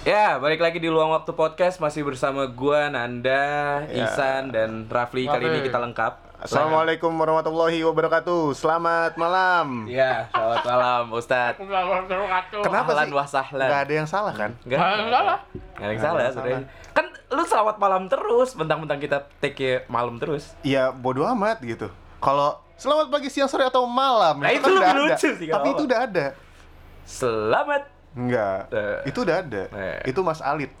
Ya, balik lagi di Luang Waktu Podcast masih bersama gua Nanda, Ya. Ihsan dan Rafli. Kali ini kita lengkap. Assalamualaikum warahmatullahi wabarakatuh. Selamat malam. Ya, selamat malam Ustadz. Kenapa Ahlan sih? wa sahlan. Nggak ada yang salah kan? Eh, Enggak. salah. Enggak ada yang salah, Nggak ada yang sebenarnya. Kan lu selamat malam terus, bentang-bentang kita take malam terus. Ya bodoh amat gitu. Kalau selamat pagi, siang, sore atau malam. Nah, itu kan lebih udah ada. lucu sih, nggak Tapi apa-apa. itu udah ada. Selamat Enggak. Eh. Itu udah ada. Eh. Itu Mas Alit.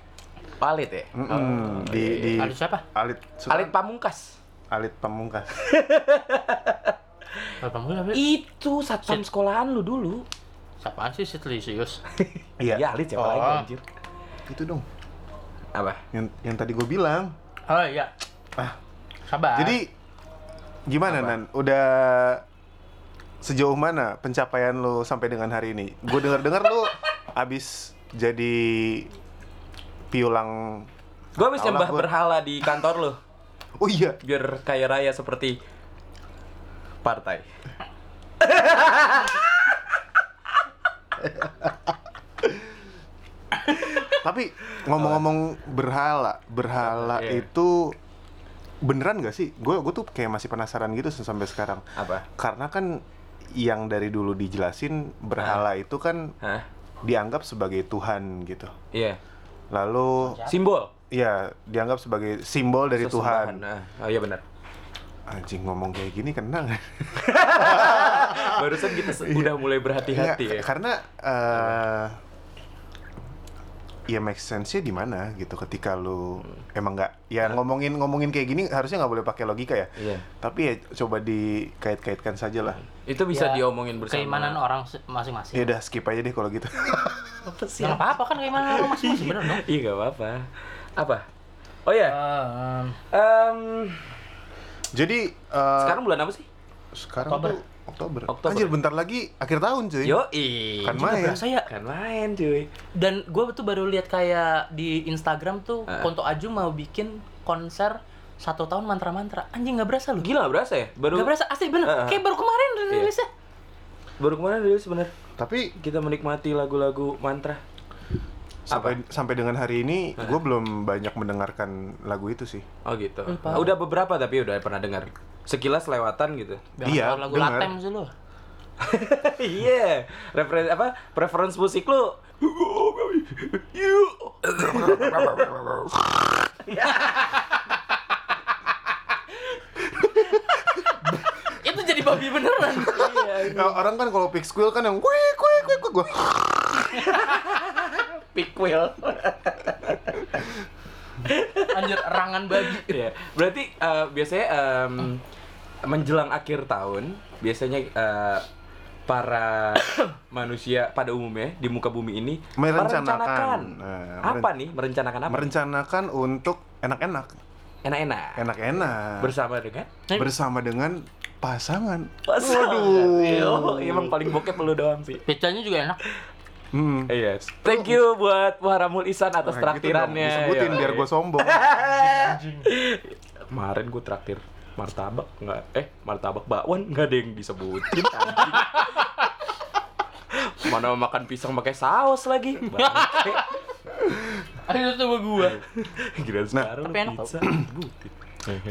Palit ya. Mm-mm. Oh, di, iya, di iya. Alit siapa? Alit. Alit Sultan- Pamungkas. Alit Pamungkas. Apa mulu tapi? Itu satpam sekolahan lu dulu. Siapaan sih Sitlisius? Iya. Ya, Alit siapa Oh. lagi anjir? Itu dong. Apa? Yang yang tadi gue bilang. Oh iya. Ah. Sabar. Jadi gimana Apa? Nan? Udah sejauh mana pencapaian lo sampai dengan hari ini? Gue denger-dengar lo abis jadi piulang. Gua habis Tau lah nyembah gua. berhala di kantor lu. Oh iya, biar kaya raya seperti partai. tapi ngomong-ngomong berhala, berhala Iya. itu beneran gak sih? Gue gue tuh kayak masih penasaran gitu sampai sekarang. Apa? Karena kan yang dari dulu Nah. dijelasin berhala itu kan Hah? dianggap sebagai tuhan gitu. Iya. Lalu Simbol. ya dianggap sebagai simbol dari Sesembahan. Tuhan. Nah, oh iya benar. Anjing ngomong kayak gini kena nggak? Barusan kita se- udah mulai berhati-hati Iya, ya. Karena eh ya make sense-nya di mana gitu ketika lu Hmm. emang nggak ya ngomongin ngomongin kayak gini harusnya nggak boleh pakai logika Nah. ya. Iya. Hmm. Tapi ya coba dikait-kaitkan saja lah. Itu bisa Ya, diomongin bersama. Keimanan orang se- Ya masing-masing. udah skip aja deh kalau gitu. Apa sih? Nggak apa-apa kan keimanan orang masing-masing bener dong. Iya gak apa-apa. Apa? Oh ya. Eh, Em, Jadi eh, sekarang bulan apa sih? sekarang Oktober. tuh Oktober. Oktober. Anjir bentar lagi akhir tahun cuy. Yo i. Kan Gak main. berasa ya. Kan main cuy. Dan gue tuh baru lihat kayak di Instagram tuh Eh. Ah. Konto Aju mau bikin konser satu tahun mantra-mantra. Anjing nggak berasa lu. Gila gak berasa ya? Baru Nggak berasa asli bener. Eh, Ah, ah. Kayak baru kemarin rilisnya. baru kemarin rilis bener. Tapi Kita menikmati lagu-lagu mantra. sampai sampai dengan hari ini gue belum banyak mendengarkan lagu itu sih. Oh gitu. Eh, parah. Udah beberapa tapi udah pernah dengar. Sekilas lewatan gitu. Jangan Iya, tahu lagu bener. latem sih lu. Iya, referen apa preference musik lu? Itu jadi babi beneran. Nah, orang kan kalau pick squeal kan yang kuik kuik kuik kuik. Gua- Pickwheel. Anjir erangan babi. Iya. Berarti eh, biasanya em, menjelang akhir tahun biasanya eh, para manusia pada umumnya di muka bumi ini Merencanakan. merencanakan. Nah, apa nih merencanakan apa? merencanakan untuk enak-enak, Enak-enak. enak-enak Bersama dengan bersama dengan pasangan. Waduh, Iya, emang paling bokep lu doang sih. Pizzanya juga enak. Hmm. Iya. Thank you buat Muharamul Isan atas Nah, gitu dong, traktirannya. ya. Iya. disebutin Yoi. biar gue sombong. Kemarin gue traktir martabak nggak eh martabak bakwan nggak ada yang disebutin. anjing. Mana makan pisang pakai saus lagi. Bangke. Ayo coba gua. Nah, Gila sekarang tapi enak pizza. disebutin.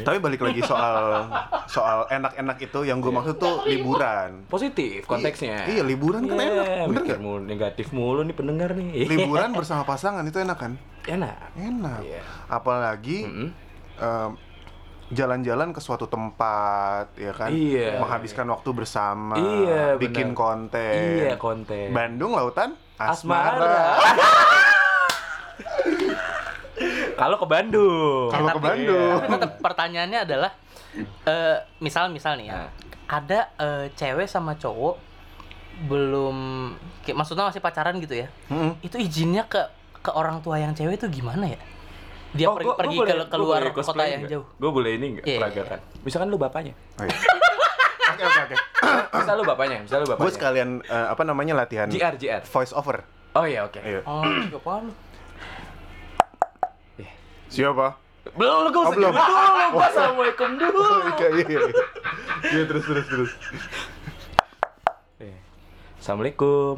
Tapi balik lagi soal soal enak-enak itu yang gue maksud tuh liburan. Positif konteksnya. Iya, liburan kan enak. Iya, Bener mikir nggak? mulu, negatif mulu nih pendengar nih. Liburan bersama pasangan itu enak kan? Enak. Hmm, Enak. Iya. Apalagi Mm-mm. em, jalan-jalan ke suatu tempat ya kan Iya. menghabiskan waktu bersama Iya, bikin benar. konten Iya konten. Bandung lautan Asmara. asmara, Kalau ke Bandung. kalau ke Tapi- Bandung Tapi tetap pertanyaannya adalah eh misal misal nih ya. Nah. Ada eh, cewek sama cowok belum kayak maksudnya masih pacaran gitu ya. Mm-mm. Itu izinnya ke ke orang tua yang cewek itu gimana ya? Dia Oh, pergi, gua- gua pergi boleh- ke gua keluar boleh kota cosplay yang nggak? jauh. Gua boleh ini enggak Iya, iya, peragakan. Misalkan lu bapaknya. Oh, iya. oke oke oke Misal lu bapaknya, misal lu gue bapaknya. sekalian eh, apa namanya latihan JR JR. voice over Oh iya oke. Ayo. Oh, juga paham. siapa Belum gua Oh, belum. sebut gitu dulu. Gua Assalamualaikum dulu. Oh, iya, iya, iya. Iya, terus terus terus Iya. Assalamualaikum.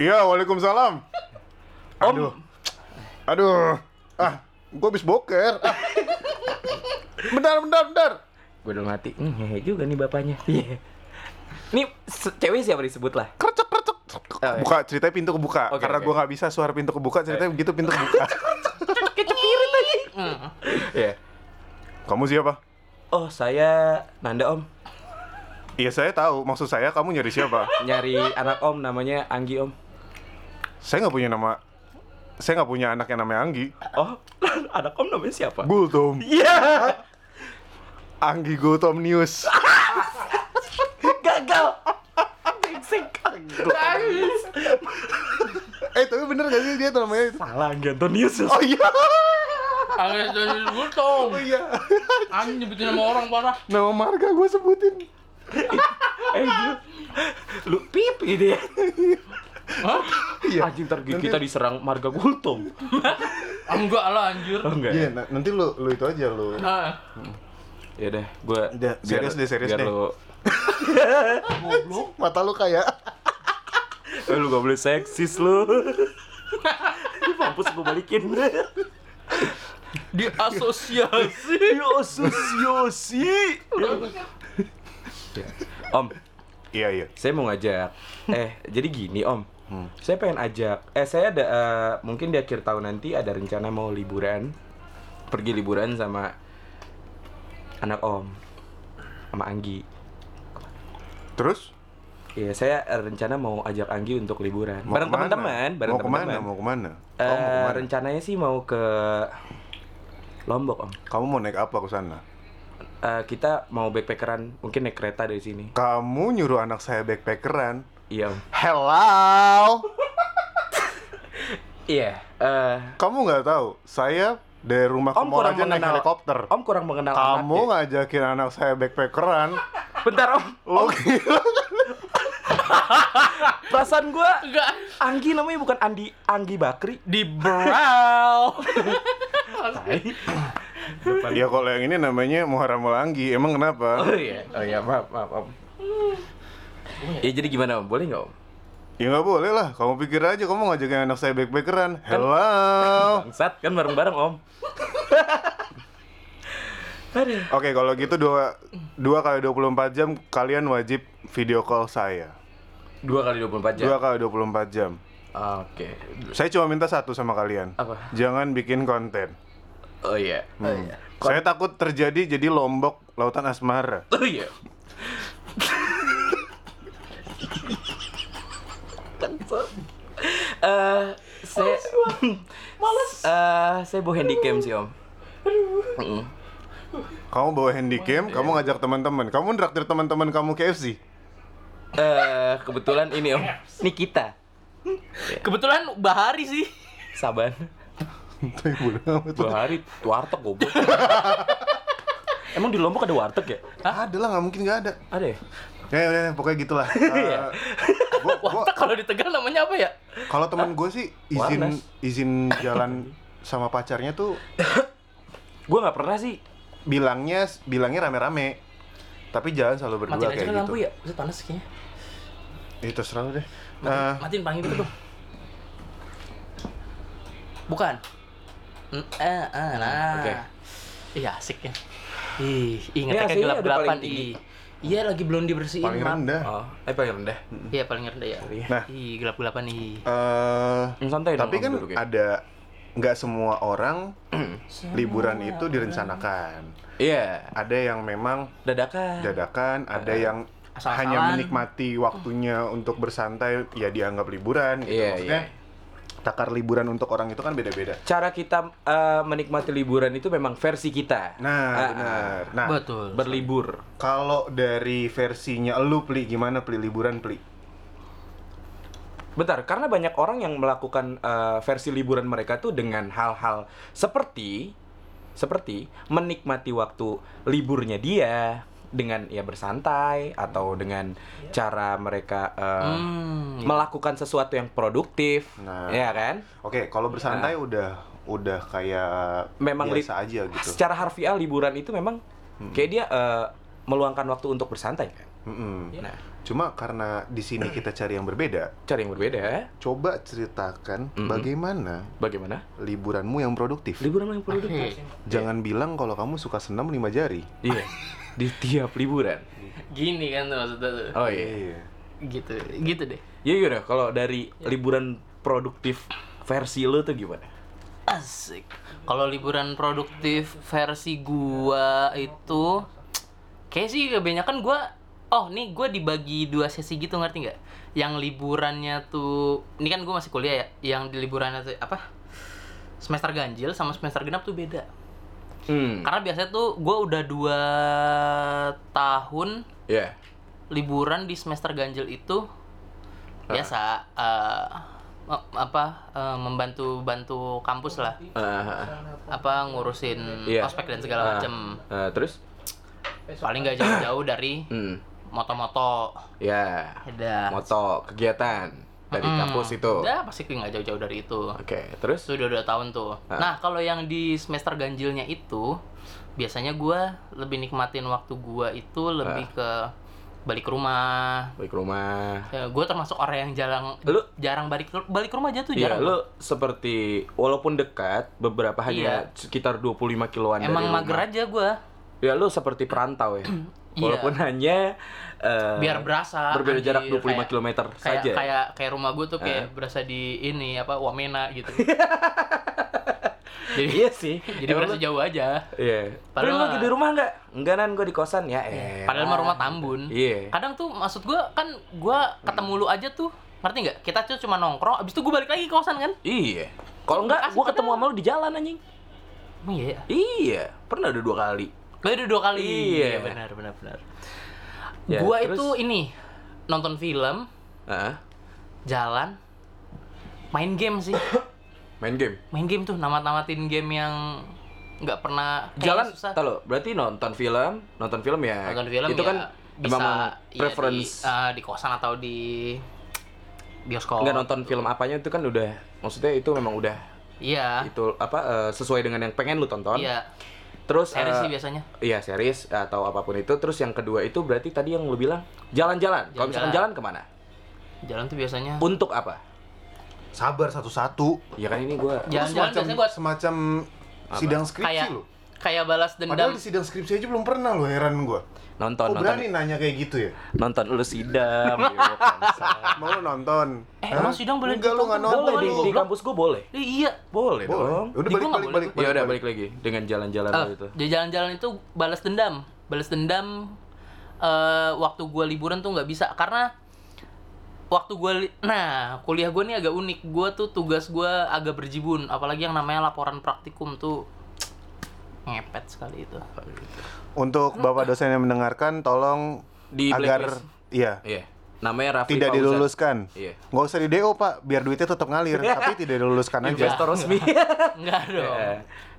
iya waalaikumsalam Om. aduh Aduh. Ah, gue habis boker. Ah. Bentar, bentar, bentar. Gue dalam hati, hmm, hehe juga nih bapaknya. Iya. Ini se- cewek siapa disebut lah? Kercek, kercek. iya. Buka, ceritanya pintu kebuka. Oke, oke. Karena gue nggak bisa suara pintu kebuka, ceritanya begitu pintu kebuka. Iya. kamu siapa? Oh, saya Nanda Om. Iya, saya tahu. Maksud saya, kamu nyari siapa? Nyari anak Om namanya Anggi Om. saya nggak punya nama. Saya nggak punya anak yang namanya Anggi. Oh, anak Om namanya siapa? Gultom. Iya. Anggi Gultom News. Gagal. Brengsek. Nangis. eh, tapi bener gak sih dia tuh namanya itu? Salah Anggi Antonius. Oh iya. Angin dari Gultom. Oh iya. Angin nyebutin nama orang parah. Nama marga gue sebutin. Eh, gila. lu pip gitu ya. Hah? Iya. Anjing ntar Nanti- kita diserang marga kultum. Ah, Enggak lah anjir. Oh enggak. Iya, ya? na- nanti lu lu itu aja lu. Ah, Ya udah, gua Udah, serius deh, serius biar deh. Lu, goblok. Mata lu kayak eh, lu gak boleh seksis lu. Ini mampus gua balikin. Diasosiasi. Yo asosiasi. Om, Iya, iya. saya mau ngajak. Eh, jadi gini Om. Hmm. Saya pengen ajak. Eh, saya ada eh, mungkin di akhir tahun nanti ada rencana mau liburan. Pergi liburan sama anak Om. Sama Anggi. Terus Iya, saya eh, rencana mau ajak Anggi untuk liburan. mau bareng kemana? teman-teman, bareng Mau kemana? teman-teman. Mau kemana? Eh, Kamu mau kemana? rencananya sih mau ke Lombok, Om. Kamu mau naik apa ke sana? Eh, kita mau backpackeran, mungkin naik kereta dari sini. Kamu nyuruh anak saya backpackeran. Iya, Om. Hello. Iya. eh, Kamu nggak tahu, saya dari rumah ke om mall kurang aja naik mengenal helikopter. Om kurang mengenal Kamu anaknya. ngajakin anak saya backpackeran. Bentar, Om. Lu gila. Perasaan gua Enggak. Anggi namanya bukan Andi Anggi Bakri. Di brow. Ya kalau yang ini namanya Muharram Mulanggi. Emang kenapa? Oh iya, oh iya, maaf, maaf, Om. Ya jadi gimana, Om? Boleh nggak, Om? Ya nggak boleh lah. Kamu pikir aja kamu ngajakin anak saya backpackeran. Hello. Bangsat, kan bareng-bareng, Om. Aduh. Oke, kalau gitu dua dua kali 24 jam kalian wajib video call saya. Dua kali 24 jam. Ah, Dua kali 24 jam. Oke. Saya cuma minta satu sama kalian. Apa? Jangan bikin konten. Oh iya. Oh iya. Kon- Saya takut terjadi jadi Lombok Lautan Asmara. Oh iya. Kan, Eh, saya Males. Eh, saya bawa handycam sih, Om. Mm. Kamu bawa Oh, iya. handycam, kamu ngajak teman-teman. Kamu traktir teman-teman kamu KFC. Eh, kebetulan ini, Om. Ini kita. Kebetulan Bahari sih. Saban. Tapi bodoh amat. Dua hari warteg goblok. Emang di Lombok ada warteg ya? Ada lah, nggak mungkin nggak ada. Ada ya? Ya, ya, ya, pokoknya gitulah. Iya. Eh, gua, gua, Warteg kalau di Tegal namanya apa ya? kalau teman gue sih izin Warnas. izin jalan sama pacarnya tuh Gua nggak pernah sih. bilangnya bilangnya rame-rame. Tapi jalan selalu berdua Matiin aja kayak kan gitu. lampu ya. Buset, panas kayaknya. Itu terserah lu deh. Eh, Matiin panggil itu dong. Bukan. Mm, Eh, eh, nah. Oke. Iya asik ya. Ih, Ini ingat kan AC-nya gelap udah gelapan paling tinggi. Iya lagi belum dibersihin. paling Mat. rendah. Oh, eh paling rendah. Iya paling rendah ya. Nah. Ih, gelap gelapan nih. Eh, Hmm, Santai dong. tapi Om, kan duduk ya. ada nggak semua orang liburan itu direncanakan. Iya. Ada yang memang Dadakan. dadakan, ada Nah. yang Asal-asalan. hanya menikmati waktunya untuk bersantai ya dianggap liburan gitu. Iya, Maksudnya iya. takar liburan untuk orang itu kan beda-beda. Cara kita eh, menikmati liburan itu memang versi kita. Nah, Ah, benar. ah. Nah, Betul. Berlibur. kalau dari versinya lu Pli gimana Pli liburan Pli? Bentar, karena banyak orang yang melakukan eh, versi liburan mereka tuh dengan hal-hal seperti seperti menikmati waktu liburnya dia dengan ya bersantai atau dengan cara mereka eh, Hmm. melakukan sesuatu yang produktif, Nah. ya kan? Oke, kalau bersantai udah udah kayak Ah. Memang li- biasa aja gitu. Hmm. Secara harfiah liburan itu memang kayak dia eh, meluangkan waktu untuk bersantai kan. Mm-mm. Nah, Cuma karena di sini kita cari yang berbeda, Cari yang berbeda. coba ceritakan Mm-mm. bagaimana Bagaimana? liburanmu yang produktif. Liburan yang produktif. Oke. Jangan bilang kalau kamu suka senam lima jari. Iya. Di tiap liburan. Gini kan tuh maksudnya tuh. Oh iya. Gitu, gitu deh. Ya yaudah, kalau dari Iya. liburan produktif versi lu tuh gimana? Asik. Kalau liburan produktif versi gua itu kayak sih kebanyakan gua oh nih gua dibagi dua sesi gitu ngerti nggak? Yang liburannya tuh ini kan gua masih kuliah ya. Yang di liburannya tuh apa? Semester ganjil sama semester genap tuh beda. Hmm. Karena biasanya tuh gua udah dua tahun Ya. liburan di semester ganjil itu biasa eh, eh, apa eh, membantu bantu kampus lah Ah, apa ngurusin Iya. prospek dan segala Ah. macem ah, terus? paling nggak jauh-jauh dari Hmm. moto-moto Ya. ada Moto kegiatan dari kampus itu. Oke, udah pasti nggak jauh-jauh dari itu terus? itu udah dua tahun tuh Ah. nah kalau yang di semester ganjilnya itu biasanya gua lebih nikmatin waktu gua itu lebih Ah. ke balik ke rumah Balik ke rumah. gue termasuk orang yang jarang Lu- jarang balik balik ke rumah aja tuh Iya, jarang lo seperti walaupun dekat, beberapa hanya sekitar 25 kiloan dari Iya. Emang rumah. mager aja gua Ya lo seperti perantau ya. walaupun hanya eh, Biar berasa. berbeda anjir. jarak 25 Kayak- km Kayak saja. kayak kayak rumah gua tuh kayak berasa di ini apa Wamena gitu. jadi Iya sih. jadi Emang berasa lu- jauh aja. Iya. Padahal Padahal- Iya. lagi di rumah nggak? Enggak nan, gue di kosan ya. Eh. Padahal mah rumah Tambun. Iya. Kadang tuh maksud gua kan gua ketemu lu aja tuh ngerti nggak? Kita tuh cuma nongkrong, abis itu gua balik lagi ke kosan kan? Iya. Kalau enggak, Makasih, gue ketemu sama lo di jalan anjing. Emang iya. ya? Iya. Pernah udah dua kali. Lo udah dua kali. Iya. benar benar benar. Ya, gua terus? itu ini nonton film, Heeh. jalan, main game sih. Main game. main game tuh namat-namatin game yang nggak pernah kayaknya jalan susah tar lo, berarti nonton film nonton film ya nonton film itu ya kan bisa emang ya preference di, eh, di kosan atau di bioskop nggak nonton film apanya itu kan udah maksudnya itu memang udah iya itu apa eh, sesuai dengan yang pengen lu tonton iya terus kan? series eh, sih biasanya iya series atau apapun itu terus yang kedua itu berarti tadi yang lu bilang jalan-jalan kalau misalkan jalan Jalan-jalan. kemana jalan tuh biasanya untuk apa Sabar satu-satu. ya kan ini gua Ya. Semacam Jalan-jalan biasanya buat- semacam sidang skripsi kayak loh. kayak balas dendam Oh, Padahal di sidang skripsi aja belum pernah loh, heran gua. nonton Kok nonton berani nanya kayak gitu ya? nonton lu sidang ya kan. yo, bangsat. Mau lu nonton? Eh, Hah? emang sidang boleh Enggak lu nggak ditonton? nonton boleh di, lu. di kampus gua boleh Eh, iya boleh Boleh. dong Udah Di balik gua nggak balik boleh, Iya, balik. ya udah balik lagi dengan jalan-jalan Eh, lo itu dia jalan-jalan itu balas dendam balas dendam eh, waktu gua liburan tuh nggak bisa karena waktu gua li- nah kuliah gua nih agak unik gua tuh tugas gua agak berjibun apalagi yang namanya laporan praktikum tuh ngepet sekali itu Untuk Bapak dosen yang mendengarkan tolong Di agar iya, Iya. Namanya Rafli tidak ya. Fauzan. diluluskan. Iya. Nggak usah di DO, Pak, biar duitnya tetap ngalir, tapi tidak diluluskan aja. Investor resmi. enggak dong Iya.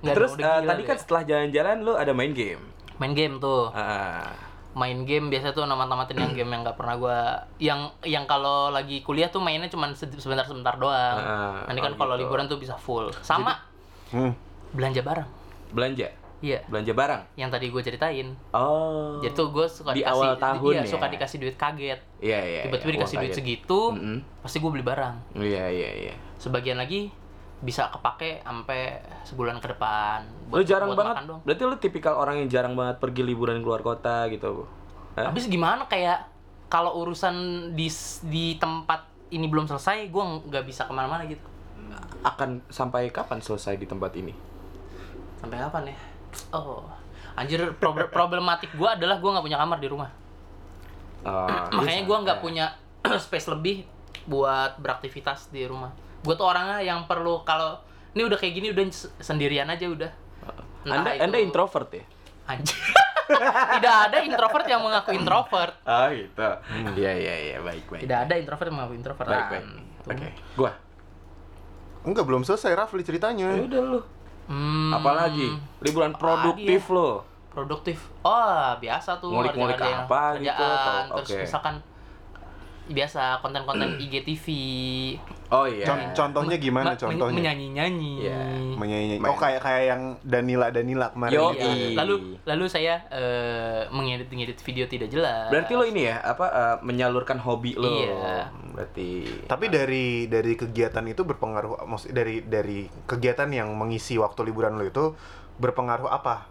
Nggak Terus dong, udah eh, gila tadi deh. kan setelah jalan-jalan lu ada main game. main game tuh Ah. main game biasa tuh nama-namatin yang game yang nggak pernah gua yang yang kalau lagi kuliah tuh mainnya cuman sed- sebentar-sebentar doang Ah, nanti kan oh kalau gitu. liburan tuh bisa full sama Hmm. belanja barang belanja. iya Belanja barang. yang tadi gue ceritain Oh. jadi tuh gue suka Di dikasih awal tahun iya, ya? suka dikasih duit kaget Iya, iya. tiba-tiba iya, dikasih uang duit kaget. segitu Mm-mm. pasti gue beli barang Iya, iya, iya. sebagian lagi bisa kepake sampai sebulan ke depan Lu jarang banget. makan doang. Berarti lu tipikal orang yang jarang banget pergi liburan keluar kota gitu. Hah? habis gimana kayak kalau urusan di s- di tempat ini belum selesai gue nggak bisa kemana-mana gitu Akan sampai kapan selesai di tempat ini? sampai kapan ya oh anjir prob- problematik gue adalah gue nggak punya kamar di rumah Ah, lu makanya gue nggak santai. punya space lebih buat beraktivitas di rumah gue tuh orangnya yang perlu kalau ini udah kayak gini udah s- sendirian aja udah Entah Anda itu- Anda introvert ya? anjir tidak ada introvert yang mengaku introvert Ah, gitu. Iya, iya, iya, baik, baik. tidak ada introvert yang mengaku introvert Baik, baik. Gitu. Oke. Gua. Enggak belum selesai Rafli Ya ceritanya. udah lu. Hmm, Ah, iya. Apalagi liburan produktif Apalagi lo. produktif oh biasa tuh Ngulik-ngulik ngerjain apa gitu atau- kerjaan. terus oke. Hmm. misalkan biasa konten-konten IGTV Oh iya. Con- Contohnya gimana me- contohnya? menyanyi-nyanyi Iya. Menyanyi. Main. Oh kayak kayak yang Danila Danila kemarin. Yo, i. Iya. lalu lalu saya eh, mengedit-ngedit video tidak jelas Berarti lo ini ya apa eh, menyalurkan hobi lo. Iya. Berarti. Tapi dari dari kegiatan itu berpengaruh maksud dari dari kegiatan yang mengisi waktu liburan lo itu berpengaruh apa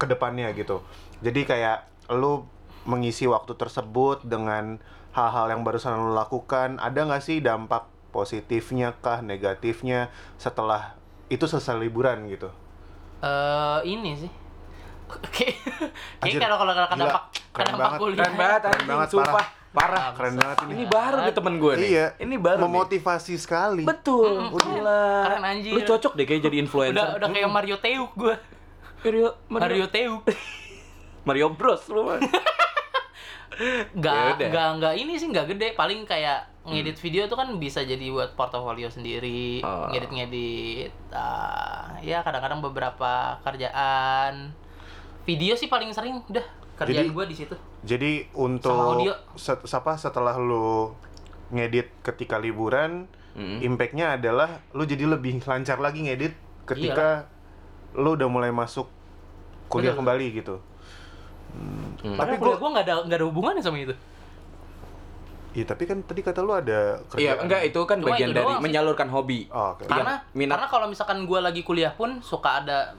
ke depannya gitu. Jadi kayak lo mengisi waktu tersebut dengan hal-hal yang barusan lo lakukan, ada nggak sih dampak positifnya kah, negatifnya setelah itu selesai liburan gitu? eh ini sih Oke, Anjir, kayak kalau kalau kata gila, dampak keren dampak banget. kuliah. Keren banget, Keren anjing, banget, sumpah. Parah. Parah. Keren banget ini. Ini baru nih temen gue nih. Iya. Ini baru. nih. Memotivasi sekali. Betul. Gila. Keren, anjir. Lu cocok deh kayak jadi influencer. Udah udah kayak Mario Teuk gue. Mario Mario Mario, Teuk. Mario Bros lu. mah. Gak, Yaudah. gak, gak ini sih gak gede Paling kayak ngedit video itu kan bisa jadi buat portofolio sendiri Oh. Ngedit-ngedit ah, Ya kadang-kadang beberapa kerjaan Video sih paling sering udah Jadi- kerjaan gue di situ. Jadi Sama untuk audio. set- apa setelah lu ngedit ketika liburan, Mm. impactnya adalah lu jadi lebih lancar lagi ngedit ketika lu udah mulai masuk kuliah Betul. kembali gitu. Hmm. Tapi Tapi gua, gue gua gak ada gak ada hubungannya sama itu. iya tapi kan tadi kata lu ada kerjaan. Iya, enggak itu kan Cuma bagian itu dari doang sih. menyalurkan hobi. Oh, oke. Iya, karena minat. karena kalau misalkan gue lagi kuliah pun suka ada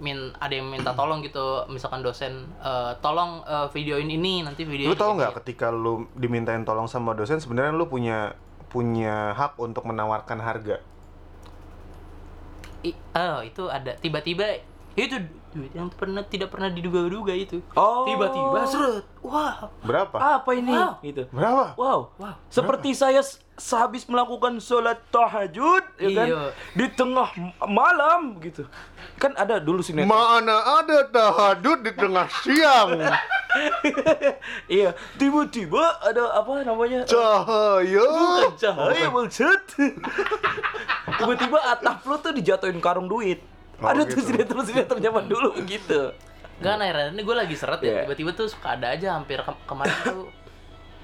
min ada yang minta tolong gitu misalkan dosen eh, tolong eh, videoin ini nanti video Lu tau nggak ketika lu dimintain tolong sama dosen sebenarnya lu punya punya hak untuk menawarkan harga. oh itu ada tiba-tiba itu duit yang pernah tidak pernah diduga-duga itu Oh. tiba-tiba seret wah Berapa? Apa ini? Wow. Gitu. Berapa? Wow. Wow. Seperti saya s- sehabis melakukan sholat tahajud, ya kan? Iya. Di tengah m- malam gitu. Kan ada dulu sinetron. Mana ada tahadud di tengah siang? iya, tiba-tiba ada apa namanya? Cahaya. Bukan cahaya bullshit. tiba-tiba atap lu tuh dijatuhin karung duit. Oh, ada tuh gitu. sinetron-sinetron zaman dulu gitu. gak nah akhir ini gue lagi seret Iya. ya tiba-tiba tuh suka ada aja hampir ke- kemarin tuh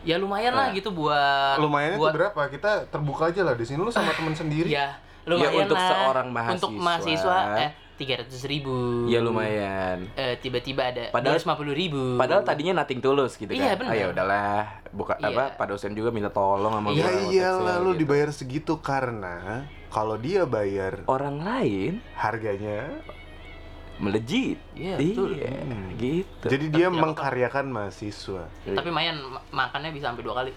ya lumayan lah Nah. gitu buat Lumayannya buat tuh berapa? Kita terbuka aja lah di sini lu sama teman sendiri. ya lumayan Ya, untuk lah. seorang untuk mahasiswa. mahasiswa eh tiga ratus ribu Ya lumayan. Eh, tiba-tiba ada Padahal- 250 ribu. Padahal tadinya nothing tulus gitu kan. Iya, benar. Ah, ya udahlah, buka Iya. apa Pak dosen juga minta tolong sama gua Ya waktu iyalah kecil, lu gitu. dibayar segitu karena kalau dia bayar orang lain harganya melejit. Iya, betul. gitu. jadi dia tidak mengkaryakan mahasiswa. Tapi Mayan ma- makannya bisa sampai dua kali.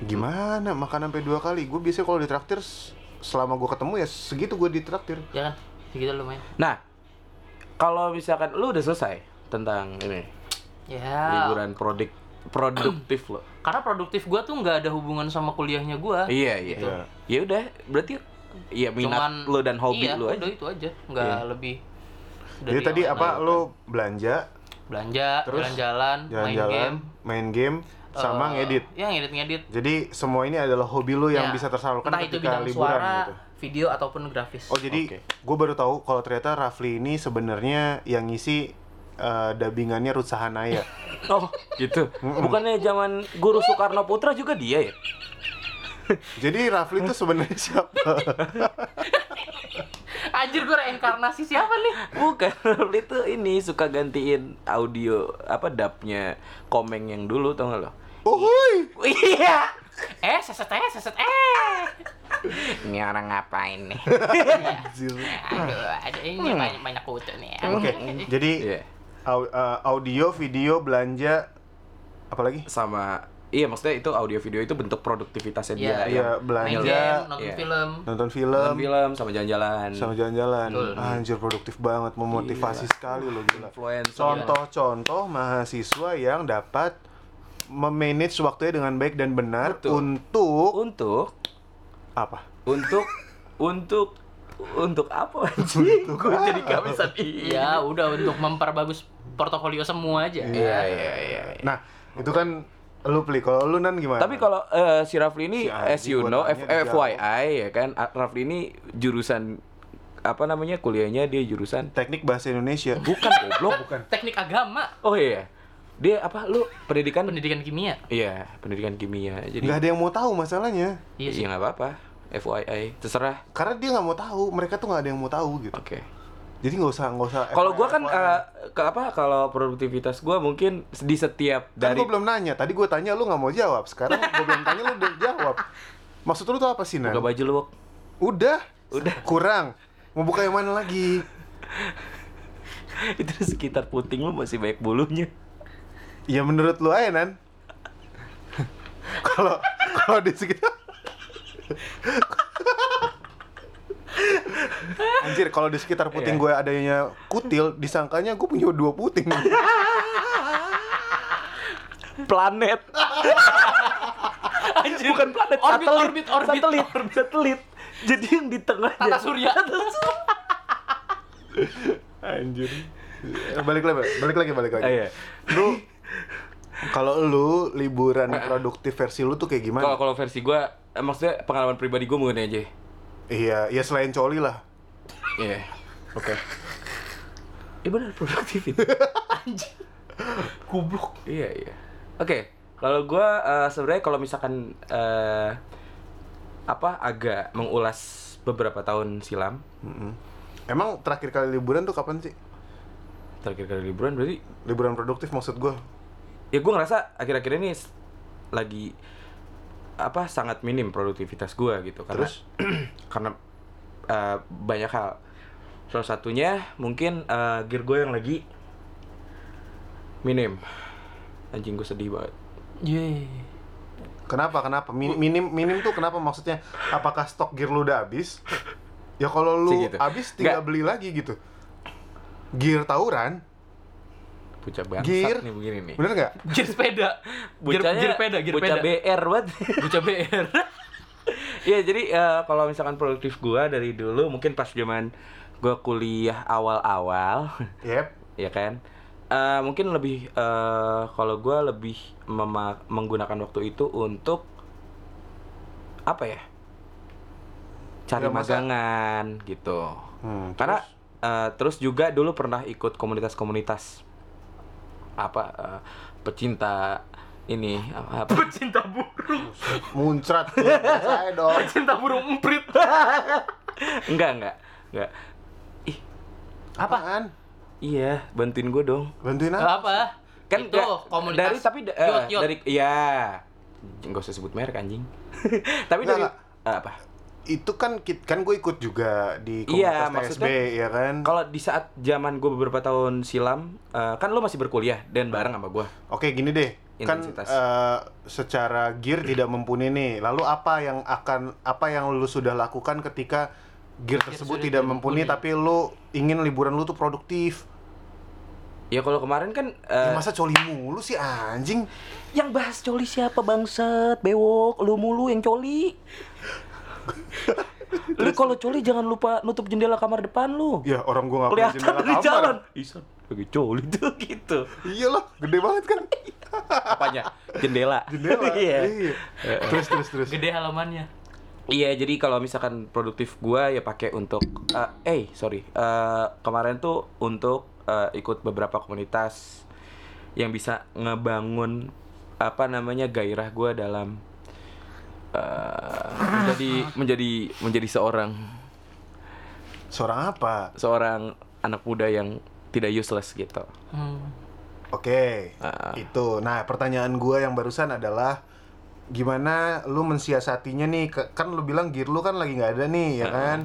Gimana makan sampai dua kali? Gue biasanya kalau ditraktir s- selama gue ketemu ya segitu gue ditraktir. Ya kan? Segitu lumayan. nah, kalau misalkan lu udah selesai tentang ini Ya. liburan produk produktif lo. Karena produktif gua tuh nggak ada hubungan sama kuliahnya gua. Iya, iya. Iya. Ya udah, berarti ya minat Cuman- lo dan hobi iya, lo aja. Udah itu aja, nggak Iya. lebih. Jadi dari yang tadi lain. apa lu belanja, Belanja, Terus? jalan-jalan, main game, jalan-jalan, main game, sama eh, ngedit. Ya ngedit-ngedit. Jadi semua ini adalah hobi lu yang Ya, bisa tersalurkan entah itu ketika bidang liburan suara, gitu. video ataupun grafis. Oh jadi Oke. gue baru tahu kalau ternyata Rafli ini sebenarnya yang ngisi eh, dubbingannya Ruth Sahanaya. Oh, gitu. Bukannya zaman Guru Soekarno Putra juga dia ya? jadi Rafli itu sebenarnya siapa? Anjir gua reinkarnasi siapa nih? Bukan, Rafli itu ini suka gantiin audio apa dapnya komeng yang dulu tau gak lo? Oh, Uhuy! Iya. Eh, seset eh, seset eh. Ini orang ngapain nih? Anjir. Aduh, ada ini banyak banyak kutu nih. Hmm. ya. Oke. Jadi Iya. au- eh, audio, video, belanja, apalagi? Sama iya maksudnya itu audio video itu bentuk produktivitasnya Iya. dia. Iya yang Main belanja, game, nonton Iya. film. nonton nonton film, film sama jalan-jalan. sama jalan-jalan. Betul. Ah, Anjir produktif banget, memotivasi sekali lo gila. Influencer. Contoh-contoh mahasiswa yang dapat memanage waktunya dengan baik dan benar Betul. untuk Untuk apa? untuk untuk untuk apa sih? Gue jadi kehabisan iya. Ya udah untuk memperbagus portofolio semua aja. Iya iya iya. Nah, itu kan lu pli. Kalau lu nan gimana? Tapi kalau eh, si Rafli ini, Ah. as Si Aji you gua know, tanya F- dijawab. FYI ya kan, A- Rafli ini jurusan apa namanya kuliahnya dia jurusan teknik bahasa Indonesia. bukan goblok. bukan. Teknik agama. Oh iya. Dia apa lu pendidikan? pendidikan kimia Iya, pendidikan kimia. Jadi nggak ada yang mau tahu masalahnya iya ya sih nggak apa-apa. FYI, terserah. karena dia nggak mau tahu mereka tuh nggak ada yang mau tahu gitu Oke. jadi nggak usah nggak usah Kalau gua kan FYI. eh, ke apa kalau produktivitas gua mungkin di setiap Kan dari gua belum nanya tadi gua tanya lu nggak mau jawab sekarang gua belum tanya lu udah jawab maksud lu tuh apa sih Nan? buka baju lu. Wok. udah Udah. kurang mau buka yang mana lagi Itu sekitar puting lu masih banyak bulunya. ya menurut lu aja Nan kalau kalau di sekitar Anjir, kalau di sekitar puting Iya. gue adanya kutil, disangkanya gue punya dua puting. Planet. Anjir. Bukan planet, orbit, satelit. orbit orbit satelit, satelit. Jadi yang di tengah tata surya Anjir. balik lagi, balik lagi, balik lagi. Iya. Lu kalau lu liburan produktif versi lu tuh kayak gimana? Kalau kalau versi gua eh, maksudnya pengalaman pribadi gua mungkin aja. Iya, ya selain coli lah. Iya. Oke. Iya benar produktif anjir goblok Iya iya. Oke, kalau gua eh, sebenarnya kalau misalkan eh, apa agak mengulas beberapa tahun silam Mm-mm. Emang terakhir kali liburan tuh kapan sih? terakhir kali liburan berarti Liburan produktif maksud gua. ya gua ngerasa akhir-akhir ini s- lagi apa sangat minim produktivitas gua gitu karena Terus? karena eh, banyak hal salah satunya mungkin eh, gear gue yang lagi minim anjing gue sedih banget Yeay. Kenapa? Kenapa? Mi- Minim minim tuh kenapa maksudnya? Apakah stok gear lu udah habis? Ya kalau lu Segitu. habis gitu. Nggak. tinggal beli lagi gitu. Gear tawuran, pucat banget Gear. nih begini nih bener nggak? gear sepeda gear, Bocahnya- gear peda gear bocah peda BR buat bocah BR Iya jadi eh, kalau misalkan produktif gua dari dulu mungkin pas zaman gua kuliah awal-awal Yep. ya kan Eh, mungkin lebih eh, kalau gua lebih mema- menggunakan waktu itu untuk apa ya cari Ya, masa- magangan gitu Hmm, karena eh, terus juga dulu pernah ikut komunitas-komunitas apa eh, pecinta ini eh, apa pecinta burung muncrat ya, saya dong. pecinta burung emprit enggak enggak enggak Apaan? iya bantuin gue dong Bantuin apa? apa kan itu nggak- komunitas dari tapi da- eh, Yot, yot. dari ya nggak usah sebut merek anjing tapi Nggak, dari nggak. eh, apa itu kan kit- kan gue ikut juga di Iya, komunitas TSB maksudnya- ya kan kalau di saat zaman gue beberapa tahun silam eh, kan lo masih berkuliah dan bareng sama gue oke gini deh kan Intensitas. Hmm. eh, secara gear tidak mumpuni nih lalu apa yang akan apa yang lu sudah lakukan ketika gear tersebut sudah tidak tidak mumpuni, mumpuni. tapi lu ingin liburan lu tuh produktif ya kalau kemarin kan Ya eh, masa coli mulu sih anjing yang bahas coli siapa bangset bewok lu mulu yang coli lu kalau coli jangan lupa nutup jendela kamar depan lu ya orang gua nggak punya kelihatan jendela di kamar jalan Isan lagi coli tuh gitu iyalah gede banget kan Iya. apanya jendela jendela iya iya. terus terus terus gede halamannya Iya, jadi kalau misalkan produktif gua ya pakai untuk eh eh sorry. Eh, kemarin tuh untuk eh, ikut beberapa komunitas yang bisa ngebangun apa namanya gairah gua dalam eh, menjadi menjadi menjadi seorang seorang apa seorang anak muda yang tidak useless gitu. hmm. Oke, Ah. itu. Nah, pertanyaan gua yang barusan adalah gimana lu mensiasatinya nih? Ke- Kan lu bilang gear lu kan lagi nggak ada nih, ya kan?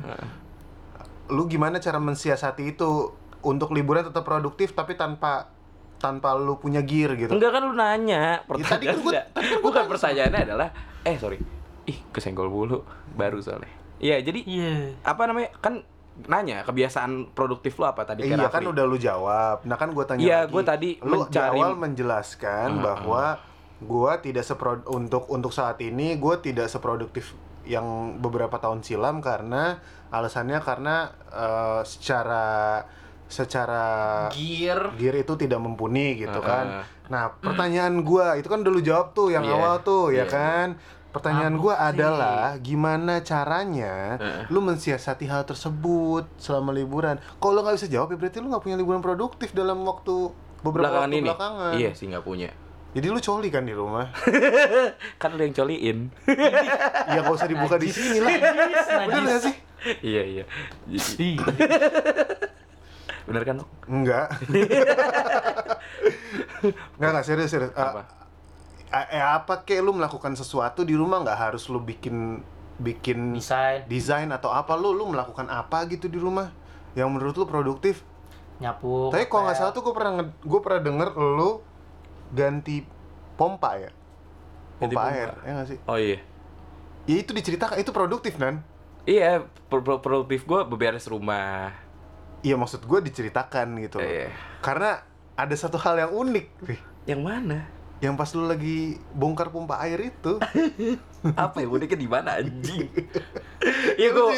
Lu gimana cara mensiasati itu untuk liburan tetap produktif tapi tanpa tanpa lu punya gear gitu? Enggak kan lu nanya Ya, tadi pertanyaan kan gua- enggak. bukan pertanyaannya adalah eh sorry ih kesenggol bulu baru soalnya iya jadi iya apa namanya kan nanya kebiasaan produktif lo apa tadi Eh, iya kan udah lu jawab. Nah kan gue tanya Iya, lagi. gua tadi lu di mencari- awal menjelaskan bahwa gua tidak sepro untuk untuk saat ini gua tidak seproduktif yang beberapa tahun silam karena alasannya karena eh, secara secara gear gear itu tidak mumpuni gitu Heeh. kan. Nah, pertanyaan gua itu kan udah lu jawab tuh yang Iya. awal tuh ya Iya. kan. Pertanyaan gua Apa sih? adalah gimana caranya lu mensiasati hal tersebut selama liburan. Kalau lu nggak bisa jawab ya berarti lu nggak punya liburan produktif dalam waktu beberapa belakangan waktu ini. belakangan. Iya sih nggak punya. Jadi lu coli kan di rumah? kan lu yang coliin. ya gak usah dibuka di sini lah. Najis, Bener najis. gak sih? iya iya. Ih, Bener kan? Nok? Enggak. Enggak, enggak serius, serius. Eh, Apa? eh, eh, apa kek lu melakukan sesuatu di rumah nggak harus lu bikin bikin Desain, desain atau apa lu lu melakukan apa gitu di rumah yang menurut lu produktif nyapu. Oh, tapi kalau nggak ngepel. salah tuh gue pernah nge- gua pernah denger lu ganti pompa ya Ganti pompa pompa. air ya nggak sih Oh iya. ya itu diceritakan itu produktif nan Iya, pro- pro- produktif gue beberes rumah. iya maksud gue diceritakan gitu loh. Iya. karena ada satu hal yang unik Ri. Yang mana? yang pas lu lagi bongkar pompa air itu Apa ya? Uniknya di mana anjing? Iya gue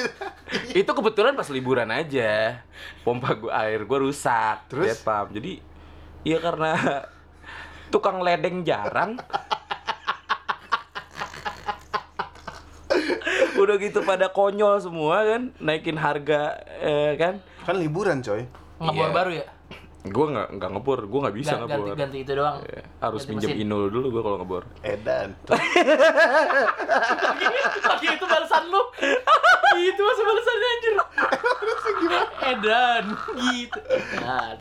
itu kebetulan pas liburan aja pompa gua air gue rusak Terus? jet pump. jadi ya karena tukang ledeng jarang udah gitu pada konyol semua kan naikin harga eh, kan kan liburan coy Ngebor Iya. baru ya? gue nggak nggak ngebor gue nggak bisa Gan- ganti, ngebor ganti itu doang. Ya, harus Ganti minjem mesin. inul dulu gue kalau ngebor edan Lagi itu balasan lu. itu masa balasannya anjir. gimana? Edan gitu. Edan.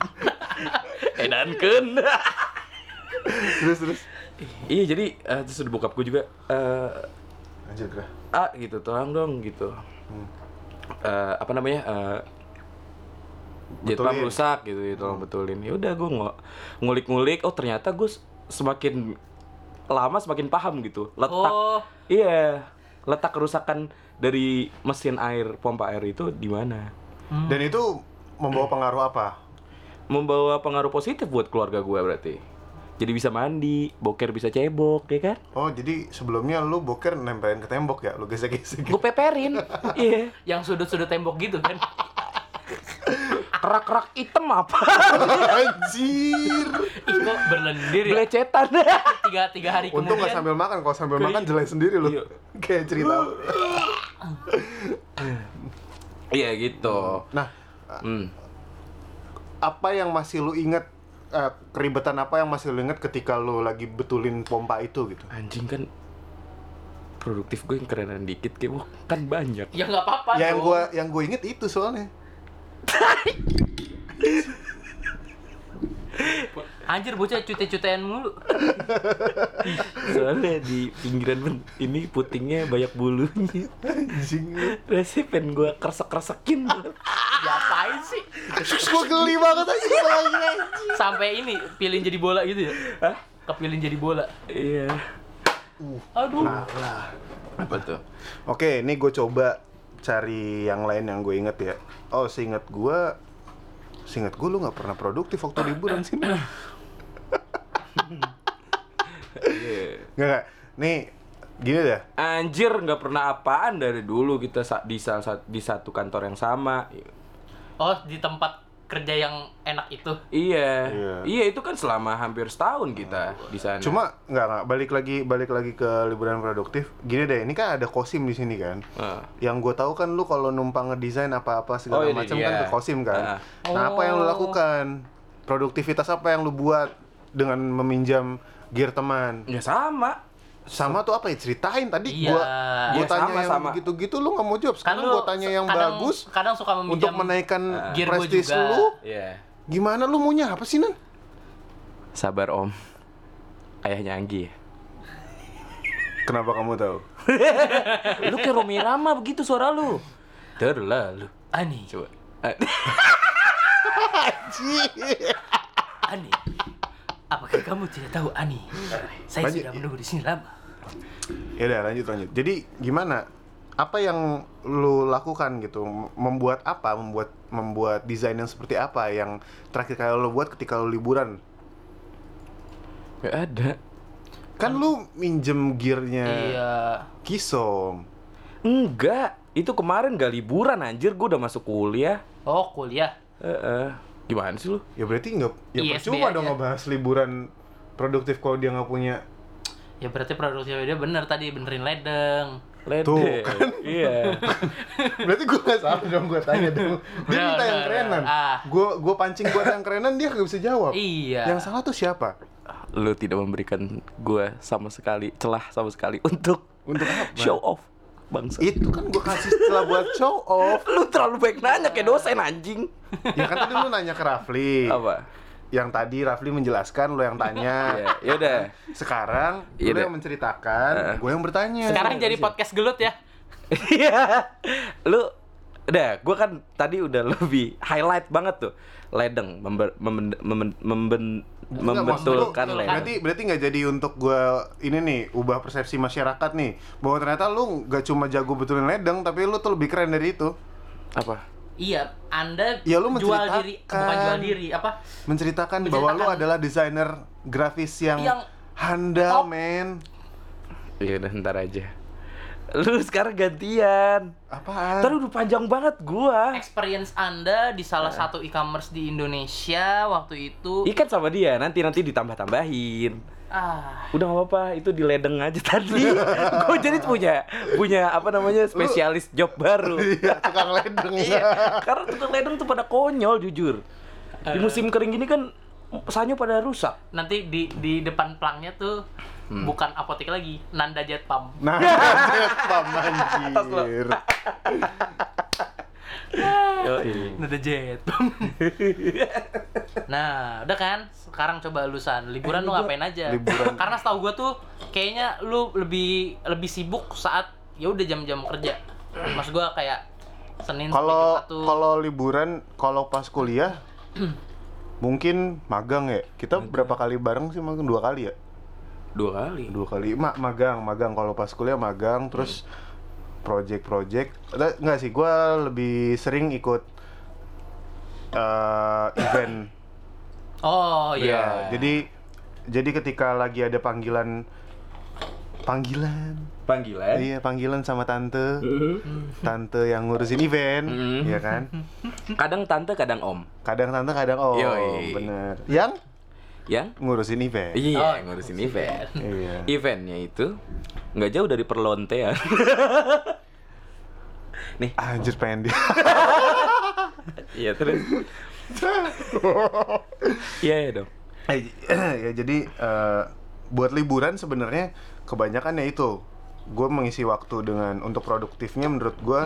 edankan terus terus iya jadi eh, terus udah bokap gue juga eh, anjir gerah ah gitu tolong dong gitu Eh, apa namanya eh jet pump Betulin. rusak gitu ya, tolong betulin ya udah gue ngulik-ngulik oh ternyata gue s- semakin lama semakin paham gitu letak Oh, iya letak kerusakan dari mesin air pompa air itu di mana dan itu membawa pengaruh apa membawa pengaruh positif buat keluarga gue berarti jadi bisa mandi boker bisa cebok ya kan Oh, jadi sebelumnya lu boker nempelin ke tembok ya? Lu gesek-gesek. gue peperin iya yang sudut-sudut tembok gitu kan. kerak-kerak item apa Anjir. Ih, kok berlendir ya? belecetan Tiga, tiga hari Untung nggak kemudian. sambil makan, kalau sambil makan jelek sendiri lu. Iya. Kayak cerita. lu. iya gitu Nah, Hmm. apa yang masih lu inget eh, keribetan apa yang masih lu inget ketika lu lagi betulin pompa itu gitu? Anjing kan produktif gue yang kerenan dikit kayak wah kan banyak. Ya nggak apa-apa. Ya, yang dong. gua yang gue inget itu soalnya. Anjir bocah cute-cutean mulu. Soalnya di pinggiran ben- ini putingnya banyak bulunya. Anjing. lu. Rasanya pengen gue kresek-kresekin. Ngapain sih? Gua geli banget aja Sampai ini pilih jadi bola gitu ya? Hah? Kepilin jadi bola. Iya. Aduh. Nah. Apa tuh? Oke, ini gue coba cari yang lain yang gue inget ya. Oh, seinget gua seinget gue lu nggak pernah produktif waktu liburan sih. Nggak, nggak. Nih, gini dah. Iya. Anjir nggak pernah apaan dari dulu kita sa- di, sa- sa- di satu kantor yang sama. Oh, di tempat kerja yang enak itu. Iya. Iya. Iya itu kan selama hampir setahun kita di sana. Cuma nggak nggak balik lagi balik lagi ke liburan produktif. Gini deh, ini kan ada kosim di sini kan. Ah. Yang gue tahu kan lu kalau numpang ngedesain Oh, apa-apa segala ini macam dia. kan ke kosim kan. Ah. Nah, apa yang lu Oh. lakukan? Produktivitas apa yang lu buat dengan meminjam gear teman? Ya sama. sama tuh apa ya ceritain tadi Iya. gua Iya, gua tanya sama, yang sama. gitu-gitu lu nggak mau jawab sekarang Kan lu gua tanya yang kadang- bagus Kadang suka untuk meminjam menaikkan gear gua prestis juga. lu Iya. gimana lu maunya apa sih nan Sabar Om. Ayahnya Anggi ya. kenapa kamu tahu lu kayak Romi Rama begitu suara lu terlalu Ani, coba Eh, Ani. Apakah kamu tidak tahu Ani? Saya Lanjut. sudah menunggu di sini lama. ya udah lanjut lanjut jadi gimana apa yang lu lakukan gitu M- membuat apa membuat membuat desain yang seperti apa yang terakhir kali lu buat ketika lu liburan nggak ada kan lu minjem gearnya Iya. kisom enggak itu kemarin gak liburan anjir gue udah masuk kuliah Oh, kuliah. eh eh. gimana sih lu ya berarti nggak ya ISB percuma dong aja. ngebahas liburan produktif kalau dia nggak punya Ya berarti produktifnya dia bener tadi benerin ledeng. Ledek. Tuh, kan. Iya. Berarti gue gak salah dong gue tanya dong. Dia Udah, minta udah, yang udah. kerenan. Ah. Gue gue pancing buat yang kerenan dia gak bisa jawab. Iya. Yang salah tuh siapa? Lu tidak memberikan gue sama sekali celah sama sekali untuk Untuk apa? show off bangsa. Itu kan gue kasih setelah buat show off. Lu terlalu baik nanya kayak dosen anjing. Ya kan tadi lu nanya ke Rafli. Apa? Yang tadi Rafli menjelaskan lu yang Ya, tanya. yaudah. Sekarang Iya lu deh. yang menceritakan, gue yang bertanya. Sekarang jadi podcast gelut ya. Iya. lu udah, gue kan tadi udah lebih highlight banget tuh. Ledeng member, memben- memben- memben- Enggak, maksud lu- membetulkan ya. Berarti ledeng. berarti nggak jadi untuk gua ini nih ubah persepsi masyarakat nih bahwa ternyata lu nggak cuma jago betulin ledeng tapi lu tuh lebih keren dari itu. Apa? Iya, Anda Ya, lu kan. jual diri, menceritakan. bukan jual diri, apa? Menceritakan, bahwa lu Menceritakan. adalah desainer grafis yang, Yang handal, top. men. Iya udah ntar aja. Lu sekarang gantian. Apaan? Ntar udah panjang banget gua. Experience Anda di salah Iya. satu e-commerce di Indonesia waktu itu. Ikan sama dia nanti nanti ditambah-tambahin. Ah, Udah nggak apa-apa, itu di ledeng aja tadi. gua jadi punya punya apa namanya spesialis job baru. Iya, tukang ledeng. Iya, karena tukang ledeng tuh pada konyol jujur. Di Eh. musim kering gini kan sanyo pada rusak. nanti di di depan pelangnya tuh Hmm. bukan apotek lagi, Nanda Jet Pump. Nah, paman anjir. Nada jet. nah, udah kan? Sekarang coba lu san, liburan lu ngapain aja? liburan. Karena setahu gua tuh kayaknya lu lebih lebih sibuk saat ya udah jam-jam kerja. Mas gua kayak Senin sampai Kalau Jumat tuh. kalau liburan, kalau pas kuliah mungkin magang ya. Kita berapa kali bareng sih? Mungkin dua kali ya. Dua kali. dua kali Ma- magang magang kalau pas kuliah magang terus project-project Eh, nggak sih gua lebih sering ikut eh, event Oh ya iya. jadi jadi ketika lagi ada panggilan panggilan Panggilan. iya panggilan sama tante tante yang ngurusin event ya kan Kadang tante, kadang om. kadang tante kadang oh Yoi. bener yang Yang ngurusin event Oh, Ya? Iya, ngurusin event. iya Eventnya itu nggak jauh dari perlontean. Nih, anjir pengen dia iya terus. Iya iya dong. Eh, ya jadi eh, buat liburan sebenarnya kebanyakan ya itu gue mengisi waktu dengan untuk produktifnya menurut gue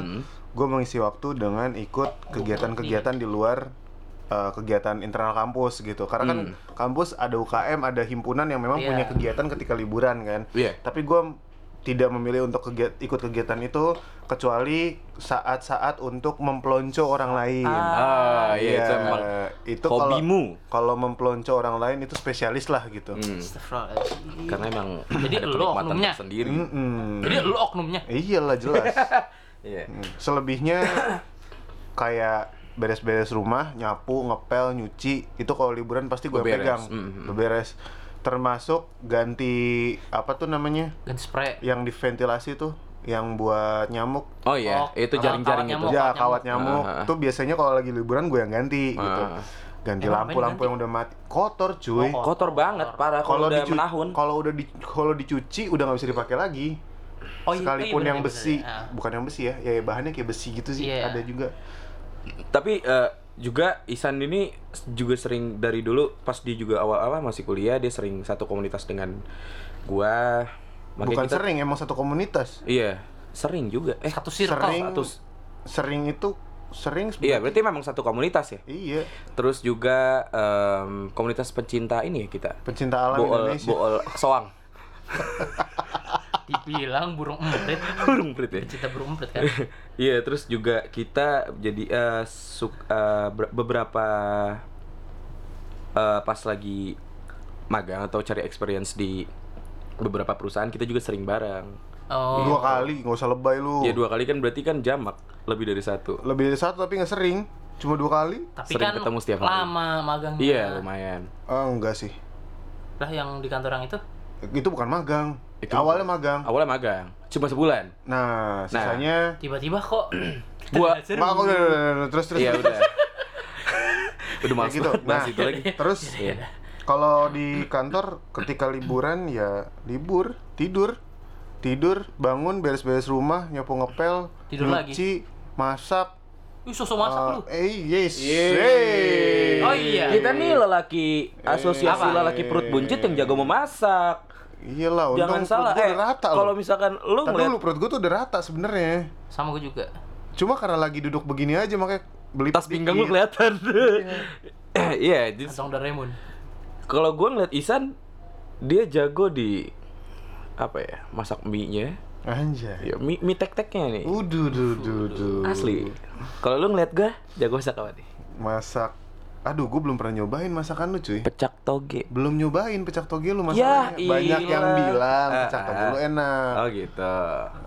gue mengisi waktu dengan ikut kegiatan-kegiatan di luar eh, kegiatan internal kampus gitu karena kan kampus ada UKM ada himpunan yang memang Iya. punya kegiatan ketika liburan kan Iya. tapi gue tidak memilih untuk kegiat- ikut kegiatan itu kecuali saat-saat untuk mempelonco orang lain Ah, iya itu emang Ya, eh, itu kalau- hobimu. Kalau mempelonco orang lain itu spesialis lah gitu. Hmm, Astagfirullahaladzim. karena emang Jadi ada lu kenikmatan oknumnya. Hmm. sendiri. Mm-mm. Jadi lu oknumnya. Hmm, Iyalah jelas. Iya. Mm. Selebihnya kayak beres-beres rumah, nyapu, ngepel, nyuci, itu kalau liburan pasti gue Beberes. Hmm, pegang. Mm-mm. Beberes. Termasuk ganti apa tuh namanya? Ganti spray. Yang diventilasi tuh, yang buat nyamuk. Oh iya, Oh, itu kawat- jaring-jaring kawat itu. nyamuk. ya, kawat kawat nyamuk. Ah. Tuh biasanya kalau lagi liburan gue yang ganti gitu. Ah. Ganti Emang apa yang lampu-lampu yang udah mati. Kotor cuy. Oh, Kotor banget parah kalau udah dicu- menahun. kalau udah di- kalau dicuci udah nggak bisa dipakai lagi Oh, iya, sekalipun iya, yang bener, besi bener, ah. bukan yang besi ya ya ya, bahannya kayak besi gitu sih Iya. ada juga Tapi eh, juga Isan ini juga sering dari dulu pas dia juga awal-awal masih kuliah dia sering satu komunitas dengan gua. Makanya bukan kita- sering emang satu komunitas Iya, sering juga. Eh, Satu circle. sering satu s- sering itu sering iya sebenarnya- berarti memang satu komunitas ya. iya Terus juga em, komunitas pencinta ini ya kita. pencinta alam Bool, Indonesia bool soang. Dibilang burung emprit. Burung perit ya. Cinta burung emprit kan. Iya, terus juga kita jadi eh, suk- eh, ber- beberapa eh, pas lagi magang atau cari experience di beberapa perusahaan kita juga sering bareng. Oh. dua kali nggak usah lebay lu Ya dua kali kan berarti kan jamak lebih dari satu. lebih dari satu tapi nggak sering cuma dua kali Tapi Sering kan ketemu setiap hari. lama magangnya. Iya lumayan. Ah, enggak sih Lah yang di kantor yang itu? itu bukan magang Itu awalnya magang Awalnya magang, cuma sebulan. nah sisanya Tiba-tiba kok Gua- Seru. Mak, udah, udah, udah, udah, terus terus Iya udah. udah Ya males gitu. banget bahas Nah, itu lagi. terus Iya. kalau di kantor ketika liburan ya libur, tidur. tidur bangun beres-beres rumah nyapu ngepel Tidur lagi. nyuci masak Ih, sosok masak Oh. uh, lu. eh yes Yeay. Yeay. Oh, iya. Kita nih lelaki asosiasi Apa? lelaki perut buncit yang jago memasak. iyalah untung Jangan perut salah. gua Eh, udah rata kalau loh. misalkan lu Ntar ngeliat dulu perut gue tuh udah rata sebenarnya Sama gue juga. cuma karena lagi duduk begini aja makanya beli tas pinggang lu kelihatan. Eh, Iya, jadi Kantong Doraemon. kalau gue ngeliat Isan dia jago di apa ya? Masak mie-nya. anjay Ya, mie, mie tek-teknya nih. udu du du du Uh. Asli. Kalau lu ngeliat gue jago masak apa nih? masak aduh gue belum pernah nyobain masakan lu cuy Pecak toge. belum nyobain pecak toge lu masalahnya Ya, banyak yang iyalah. bilang Ah, pecak toge ah. lu enak Oh gitu.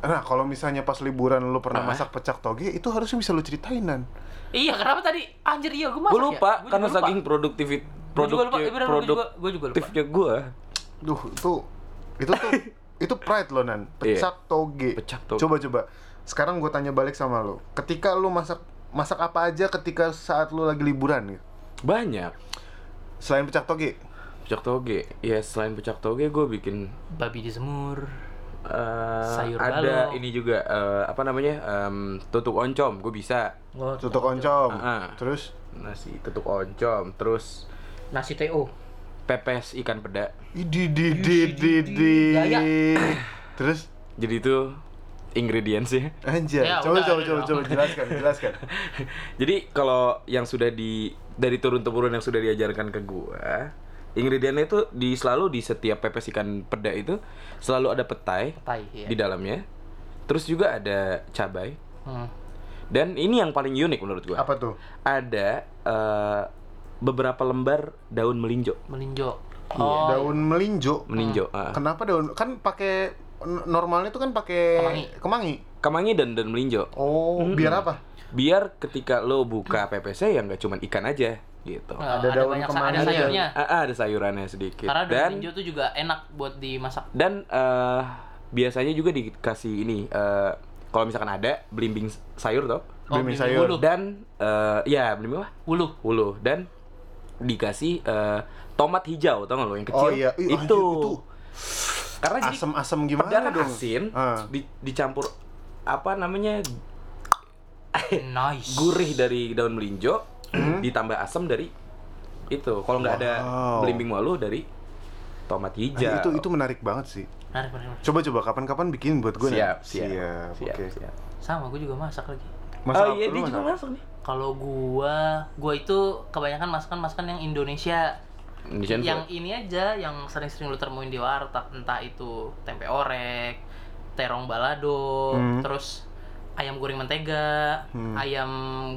nah kalau misalnya pas liburan lu pernah Ah. masak pecak toge itu harusnya bisa lu ceritainan Iya, kenapa tadi? Anjir, iya gue masak Gue lupa karena saking produktivit Gue juga produk lupa, bener, gua juga, gua juga lupa. produktifnya gue duh itu itu tuh itu pride lo nan pecak toge Pecak toge. coba coba sekarang gue tanya balik sama lu ketika lu masak masak apa aja ketika saat lu lagi liburan gitu banyak. selain pecak toge Pecak toge. Ya selain pecak toge gue bikin Babi dijemur. eh, Sayur ada balok. ini juga eh, apa namanya em, tutuk oncom gue bisa Oh, tutuk oncom Ah, ah. terus nasi tutuk oncom terus Nasi TO. pepes ikan peda idi di di di di Gaya. terus jadi itu ingredientsnya anjay Ya, coba udah, coba udah, coba udah. coba jelaskan jelaskan jadi kalau yang sudah di dari turun temurun yang sudah diajarkan ke gue ingredientnya itu di selalu di setiap pepes ikan peda itu selalu ada petai Tai, iya. di dalamnya terus juga ada cabai Hmm. dan ini yang paling unik menurut gue apa tuh ada eh, beberapa lembar daun melinjo. Melinjo. Iya, Oh, iya. daun melinjo Melinjo. ah. kenapa daun kan pakai n- normalnya tuh kan pakai kemangi, Kemangi dan daun melinjo. oh biar apa Biar ketika lo buka PPC yang gak ya cuman ikan aja gitu. Ada Nah, ada, daun banyak kemangi ada dan- sayurnya. Ah, ah, ada sayurannya sedikit. Karena daun dan melinjo tuh juga enak buat dimasak. dan eh, biasanya juga dikasih ini eh, kalau misalkan ada belimbing sayur toh. Belimbing belimbing sayur. Wulu. Dan eh, ya belimbing apa? Wulu. Wulu dan dikasih eh, tomat hijau tau gak lo yang kecil Oh, iya. itu. Ih, anjir, itu karena jadi asem-asem gimana Padahal kan dong asin, Ah. di- dicampur apa namanya Nice. gurih dari daun melinjo, Hmm. ditambah asam dari itu. Kalau nggak ada Wow. belimbing walu dari tomat Nah, hijau. itu itu menarik banget sih Menarik, menarik, menarik. coba coba kapan-kapan bikin buat gue siap, Nan. siap, ya? siap, siap, oke siap. Sama, gue juga masak lagi. Masak oh iya, dia apa? Lu juga masak apa? masuk nih. Kalau gua, gua itu kebanyakan masakan-masakan yang Indonesia. Indonesian yang food. ini aja yang sering-sering lu temuin di warteg, entah itu tempe orek, terong balado, Hmm. terus ayam goreng mentega, Hmm. ayam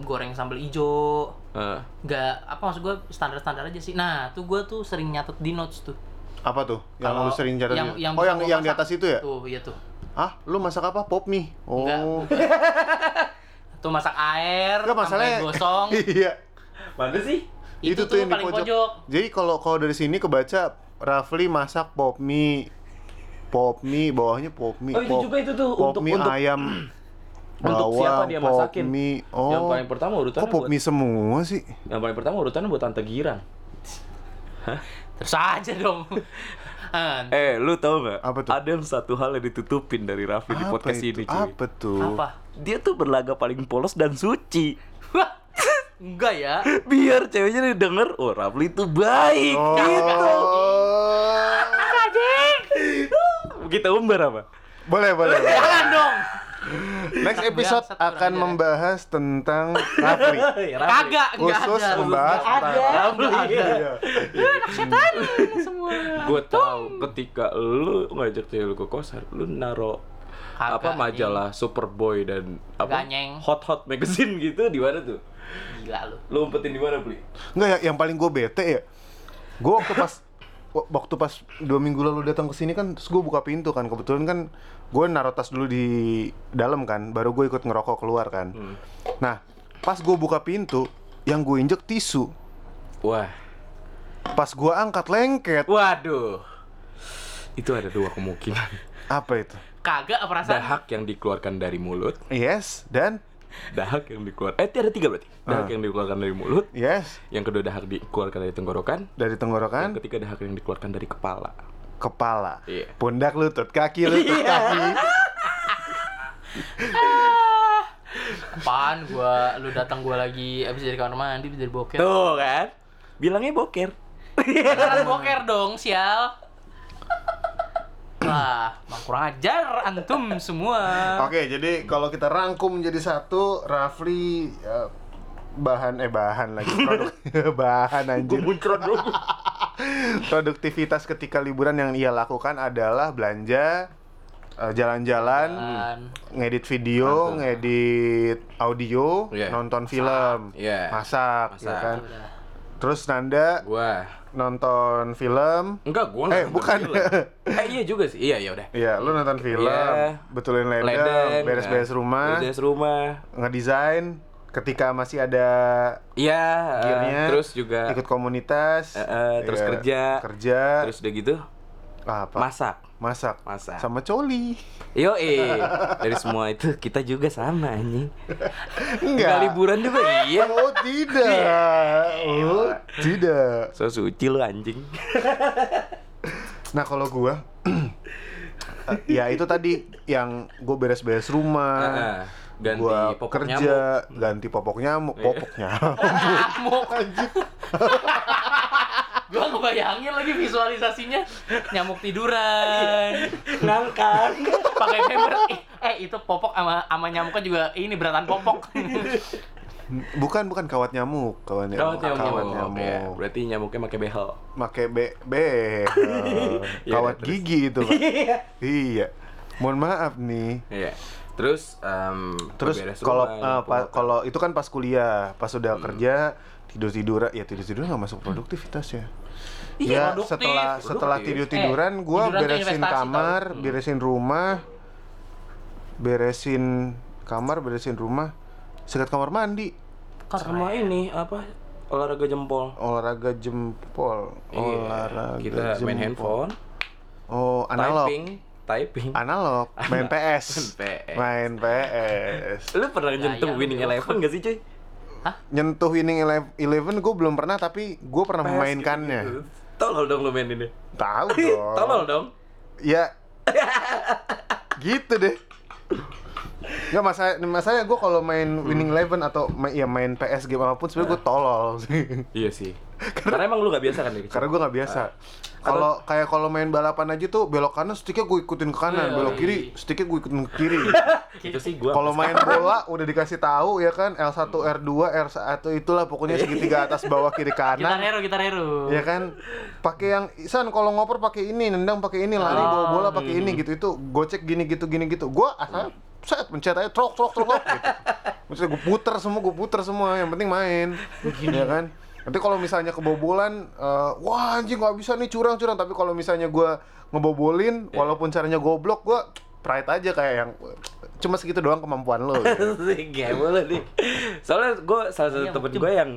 goreng sambal ijo. Eh, Gak apa maksud gua standar-standar aja sih. Nah, tuh gua tuh sering nyatet di notes tuh. apa tuh yang Kalau lu sering jarang yang- lihat? yang oh bisa yang gua yang di masak. atas itu ya Tuh, iya tuh. ah lu masak apa pop mie oh Enggak, Tuh masak air, Enggak, masalahnya sampai gosong. iya Mana sih? itu, tuh yang paling pojok. jadi kalau kalau dari sini kebaca Rafli masak pop mie pop mie bawahnya pop mie Oh, itu pop, juga itu tuh, pop untuk- mie untuk- ayam Untuk bawang, siapa dia pop masakin? mie oh Yang paling pertama urutannya kok pop buat- mie semua sih Yang paling pertama urutannya buat tante girang. Terus aja dong. Ah, An, Eh, lu tau nggak? Apa tuh? Ada yang satu hal yang ditutupin dari Raffi di apa podcast ini, itu cuy. apa tuh apa? Dia tuh berlaga paling polos dan suci. Wah, Enggak ya. Biar ceweknya denger, oh Rafli tuh baik. oh. Gitu. Kita umbar apa? boleh boleh, boleh. Jangan dong. Next episode Bangsat, akan kurang ajar. membahas tentang Rafli. Kagak, enggak Khusus ada. membahas Enggak ada. tentang Enggak ada. Iya. Semua. Gue tahu ketika lu ngajak cewek lu ke kosan, lu naro Kagak, apa majalah Superboy dan apa Ganyeng. Hot Hot Magazine gitu di mana tuh? Gila lu. Lu umpetin di mana, Bli? Nggak ya, yang paling gue bete ya. Gue waktu pas wa- waktu pas dua minggu lalu datang ke sini kan, terus gue buka pintu kan kebetulan kan gue naruh tas dulu di dalam kan, baru gue ikut ngerokok keluar kan. Nah, pas gue buka pintu, yang gue injek tisu. Wah. Pas gue angkat lengket, Waduh. Itu ada dua kemungkinan. apa itu? Kagak perasaan. Dahak yang dikeluarkan dari mulut, Yes dan dahak yang dikeluarkan. Eh, ada tiga berarti. Dahak yang dikeluarkan dari mulut, yes yang kedua dahak dikeluarkan dari tenggorokan, yang dari Kan tenggorokan. ketiga dahak yang dikeluarkan dari kepala. kepala, Iya. pundak, lutut, kaki, lutut, kaki. Apaan gua lu datang gua lagi abis dari kamar mandi abis dari boker. Tuh kan? Bilangnya boker. Beneran boker dong, sial. Wah, mah kurang ajar antum semua. Oke, jadi kalau kita rangkum menjadi satu, Rafli eh, bahan eh bahan lagi produk bahan anjir. Muncrat dong. Produktivitas ketika liburan yang ia lakukan adalah belanja, eh, jalan-jalan, Dan ngedit video, Mantap. ngedit audio, Iya. nonton film, Iya. masak, ya Masak. kan. udah. Terus Nanda Gua. nonton film. Enggak, gua Eh, nonton bukan. film. eh, iya juga sih. Iya, ya udah. Iya, lu nonton film, Iya. betulin ledeng, beres-beres nah. rumah, Beres-beres rumah. ngedesain ketika masih ada Iya, eh, gearnya, terus juga ikut komunitas, Eh, eh, terus Iya, kerja. kerja, Ah, terus udah gitu apa? masak. masak, Masak. sama coli, Yo, dari semua itu kita juga sama anjing. Enggak Iya. enggak? liburan juga iya. Oh tidak, oh tidak. So suci lu anjing. Nah kalau gua, eh, ya itu tadi yang gue beres-beres rumah, Heeh. Eh, ganti Ah. gua popok kerja, nyamuk. Iya. ganti popok nyamuk, popok nyamuk. Nyamuk. gua ngebayangin lagi visualisasinya nyamuk tiduran Ngangkat. pakai paper Ih, eh itu popok sama sama nyamuknya juga ini beratan popok Bukan bukan kawat nyamuk, kawat Kawat nyamuk, nyamuk. kawat nyamuk. Ya, berarti nyamuknya pakai behel. Make be be Iya, kawat terus. gigi itu. Pak. iya. Mohon maaf nih. Iya. Terus em, Terus beberes kalau rumah, eh, pa- popok. kalau itu kan pas kuliah, pas udah Hmm. kerja tidur tiduran ya tidur tiduran nggak masuk produktivitas ya. Iya, Ya, produktif. setelah setelah Produktif. tidur tiduran, Eh, gua tiduran tuh beresin investasi, kamar, tau. Hmm. beresin rumah, beresin kamar, beresin rumah, sikat kamar mandi, sama ini apa olahraga jempol. olahraga jempol, Iya, olahraga kita jempol. main handphone, Oh, analog. typing, typing. analog main Main PS PS. main PS Lu pernah nyentuh Sayang, winning Bro. eleven gak sih, cuy? nyentuh winning eleven gue belum pernah tapi gue pernah memainkannya Iya. gitu. Tolol dong lu main ini. tahu dong Tolol dong. ya gitu deh Nggak masalah, masalahnya gue kalau main Winning Eleven atau ma- ya main PS game apapun sebenarnya gue tolol sih, Iya sih. Karena emang lu gak biasa kan dari kecil? karena gue nggak biasa. Kalau kayak kalau main balapan aja tuh belok kanan sticknya gue ikutin ke kanan, Iya, belok iya. kiri sticknya gue ikutin ke kiri. Itu sih gua. Kalau main bola udah dikasih tahu ya kan L1, R2, R1 itulah pokoknya segitiga atas bawah kiri kita kanan. rero kita rero Ya kan pakai yang Isan kalau ngoper pakai ini, nendang pakai ini, Ah, lari bawa bola pakai iya. ini gitu itu gocek gini gitu gini gitu. Gua asal set pencet aja trok trok trok trok, gitu. Maksudnya gue puter semua, gue puter semua, yang penting main. ya kan? Nanti kalau misalnya kebobolan, eh, wah anjing nggak bisa nih curang-curang. Tapi kalau misalnya gua Iya. ngebobolin, walaupun caranya goblok, gua pride aja kayak yang cuma segitu doang kemampuan lo. gitu. game lu nih. Soalnya gua salah satu Iya, temen mungkin. gua yang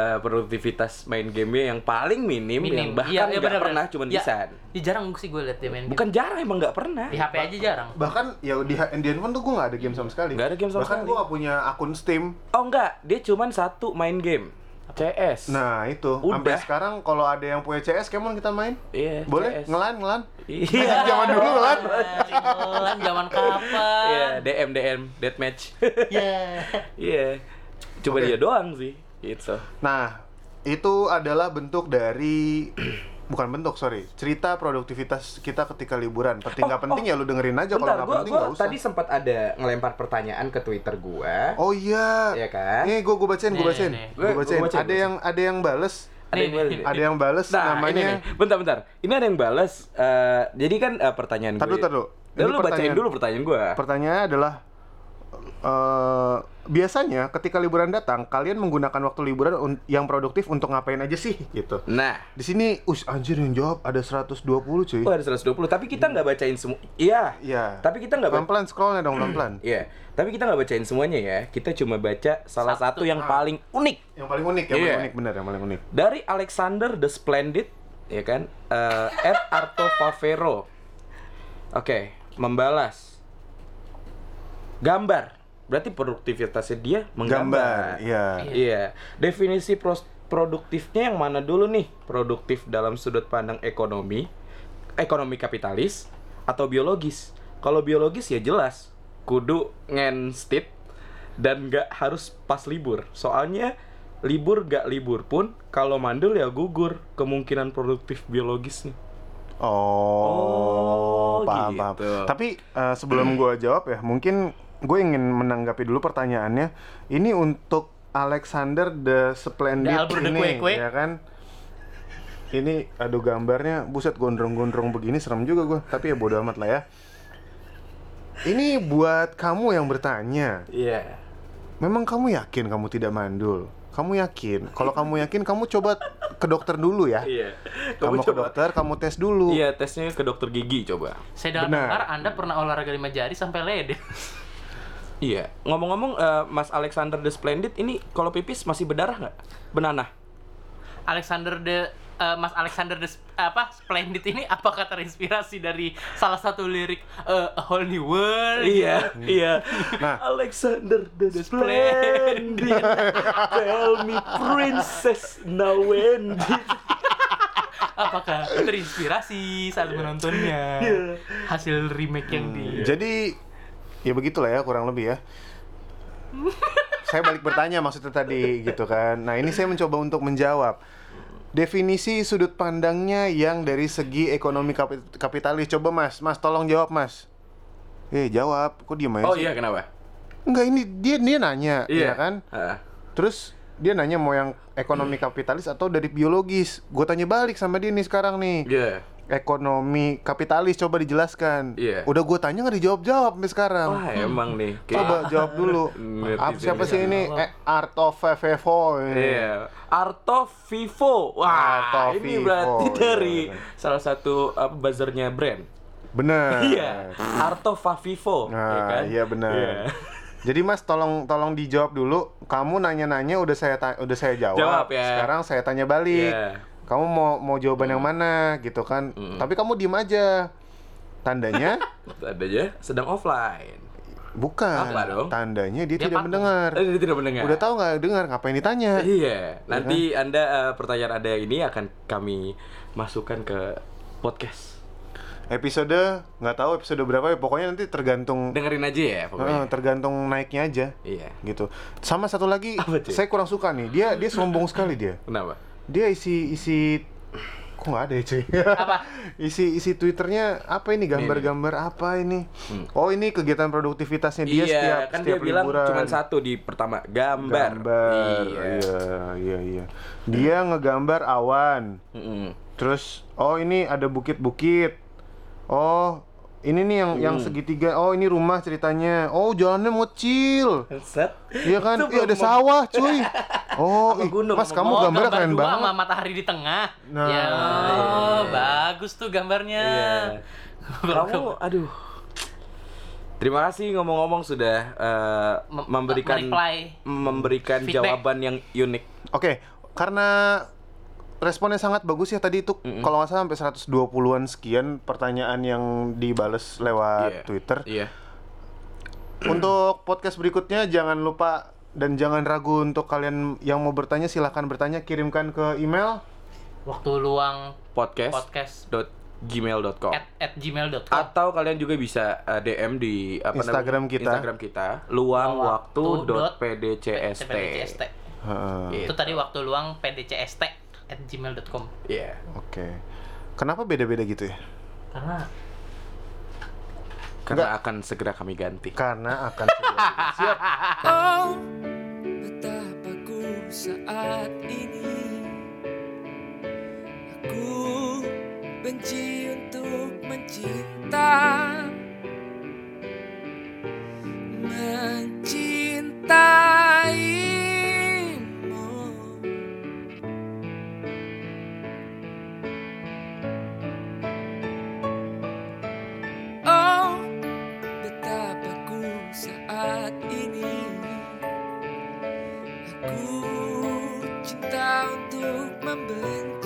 eh, produktivitas main gamenya yang paling minim, yang bahkan Iya, iya, nggak benar-benar. pernah cuman Iya. bisa Iya, jarang sih gue liat dia main game. bukan jarang emang nggak pernah di HP aja jarang bahkan ya di di handphone tuh gue nggak ada game sama sekali Nggak ada game sama bahkan sekali. gue nggak punya akun steam oh enggak dia cuman satu main game CS nah itu Udah. sampai sekarang kalau ada yang punya CS kemon kita main Iya, boleh CS. ngelan ngelan iya zaman dulu ngelan Cinggolan zaman kapan Iya, DM DM deathmatch Iya. iya cuma Oke. dia doang sih gitu. itu nah itu adalah bentuk dari bukan bentuk sorry cerita produktivitas kita ketika liburan penting nggak penting ya lu dengerin aja Oh, kalau Bentar, nggak gua, penting gua nggak usah tadi sempat ada ngelempar pertanyaan ke Twitter gua. oh iya Iya kan? nih gue gue bacain gue Nih, bacain nih. gue Gua- gua bacain bacain, ada gua yang ada yang bales Ada yang Nih, bales. nih. ada yang bales Nah, ini nih. namanya Bentar, bentar. Ini ada yang balas. eh, jadi kan eh, pertanyaan Tar gue. dulu, tar dulu. Ya, Ini lu bacain pertanyaan- dulu pertanyaan gua. Pertanyaannya adalah eh, biasanya ketika liburan datang kalian menggunakan waktu liburan un- yang produktif untuk ngapain aja sih gitu. Nah, Di sini us anjir yang jawab ada 120 cuy. gua ada 120, tapi kita nggak bacain semua. Iya. Iya. Oh, Tapi kita nggak baca Pelan-pelan scrollnya dong pelan-pelan. Iya. Tapi kita nggak bacain semuanya ya. Kita cuma baca salah satu yang paling unik Yang paling unik, yang Iya. paling unik bener yang paling unik. dari Alexander the Splendid, ya kan? Eh, At Arto Favero. Oke, membalas. Gambar. Berarti produktivitasnya dia menggambar. Gambar, iya. Iya. Definisi pros- produktifnya yang mana dulu nih? Produktif dalam sudut pandang ekonomi, ekonomi kapitalis atau biologis. Kalau biologis ya jelas kudu ngenstip dan nggak harus pas libur. Soalnya libur gak libur pun kalau mandul ya gugur kemungkinan produktif biologisnya. Oh, Oh, paham, gitu. Hmm. paham. Tapi eh, sebelum gua jawab ya, mungkin gue ingin menanggapi dulu pertanyaannya. Ini untuk Alexander the Splendid The Albert the ini, Kue-Kue. ya kan? Ini, aduh gambarnya, buset gondrong-gondrong begini, serem juga gua Tapi ya bodo amat lah ya. Ini buat kamu yang bertanya. Iya. Memang kamu yakin kamu tidak mandul? Kamu yakin? Kalau kamu yakin, kamu coba ke dokter dulu ya. Iya. Kamu, ke dokter, kamu tes dulu. Iya, tesnya ke dokter gigi coba. Saya dalam Benar. dengar Anda pernah olahraga lima jari sampai lede. Iya. Ngomong-ngomong eh, Mas Alexander the Splendid ini kalau pipis masih berdarah nggak? Benanah. Alexander the eh, Mas Alexander the Sp- apa Splendid ini apakah terinspirasi dari salah satu lirik eh, A Whole New World? Iya, iya. Nah. Alexander the Splendid. Splendid. Tell me princess now when did Apakah terinspirasi saat menontonnya? Iya. Hasil remake yang di Iya. Jadi ya begitulah ya kurang lebih ya. saya balik bertanya maksudnya tadi gitu kan. Nah, ini saya mencoba untuk menjawab. Definisi sudut pandangnya yang dari segi ekonomi kapi- kapitalis. Coba Mas, Mas tolong jawab Mas. Eh, jawab. Kok diem aja Oh sih? iya, kenapa? Iya. Enggak, ini dia dia nanya, ya kan? Heeh. Terus dia nanya mau yang ekonomi kapitalis atau dari biologis. Gue tanya balik sama dia nih sekarang nih Iya. ekonomi kapitalis coba dijelaskan. Iya. Udah gue tanya nggak dijawab jawab sampai sekarang. Wah, emang nih. Iya. kayak- coba jawab dulu. Ngerti Apa siapa dia sih ini? Eh, Art of Fevo. Iya. Arto Vivo. Wah, Arto ini Vivo, berarti iya, dari iya. salah satu apa buzzernya brand. Bener. Iya. Arto Favivo. Nah, ya kan? iya benar. Iya. Jadi Mas tolong tolong dijawab dulu. Kamu nanya-nanya udah saya ta- udah saya jawab. Jawab ya. Sekarang saya tanya balik. Iya. Mm. Kamu mau mau jawaban yang mana gitu kan? Tapi kamu diem aja. Tandanya Adanya sedang offline. bukan. Apa dong? Tandanya dia, Dia tidak vakum. mendengar. Eh, Dia tidak mendengar. Udah tahu kan? nggak dengar ngapain ditanya? Iya. Nanti Anda eh, pertanyaan Anda ini akan kami masukkan ke podcast. episode nggak tahu episode berapa ya pokoknya nanti tergantung Dengerin aja ya eh, pokoknya. tergantung naiknya aja Iya. gitu sama satu lagi Apa, cuy? saya kurang suka nih dia dia sombong sekali dia Kenapa? dia isi isi kok nggak ada ya cuy apa? isi isi twitternya apa ini gambar-gambar apa ini oh ini kegiatan produktivitasnya dia Hmm. iya, setiap kan setiap dia bilang liburan cuma satu di pertama gambar. gambar Iya. iya iya iya dia ngegambar awan Mm-mm. Terus oh ini ada bukit-bukit. Oh, ini nih yang Hmm. yang segitiga. Oh, ini rumah ceritanya. Oh, jalannya mocil. Set. Iya kan? Itu belum Iya ada mau- sawah, cuy. Oh, Sama ih, gunung, Mas sama kamu oh, gambarnya gambar keren dua sama banget. matahari di tengah. Nah. Ya, oh, bagus tuh gambarnya. Iya. Kamu, aduh. Terima kasih ngomong-ngomong sudah eh, Mem- memberikan mereply. memberikan Feedback. jawaban yang unik. Oke, karena responnya sangat bagus ya tadi itu kalau nggak salah sampai 120-an sekian pertanyaan yang dibales lewat Iya. Twitter. Iya. Untuk podcast berikutnya jangan lupa dan jangan ragu untuk kalian yang mau bertanya silahkan bertanya kirimkan ke email Waktu luang Podcast. podcast dot gmail.com at, at gmail.com. atau kalian juga bisa eh, DM di apa namanya? Instagram kita. Instagram kita luang waktu dot PDCST. pdcst. Heeh. Gitu. Itu tadi waktu luang pdcst at gmail.com. Iya. Oke. Kenapa beda-beda gitu ya? Karena Karena akan segera kami ganti. Karena akan Oh, betapa ku saat ini Aku benci untuk mencinta Mencintaimu Oh, betapa ku saat ini Aku cinta untuk membenci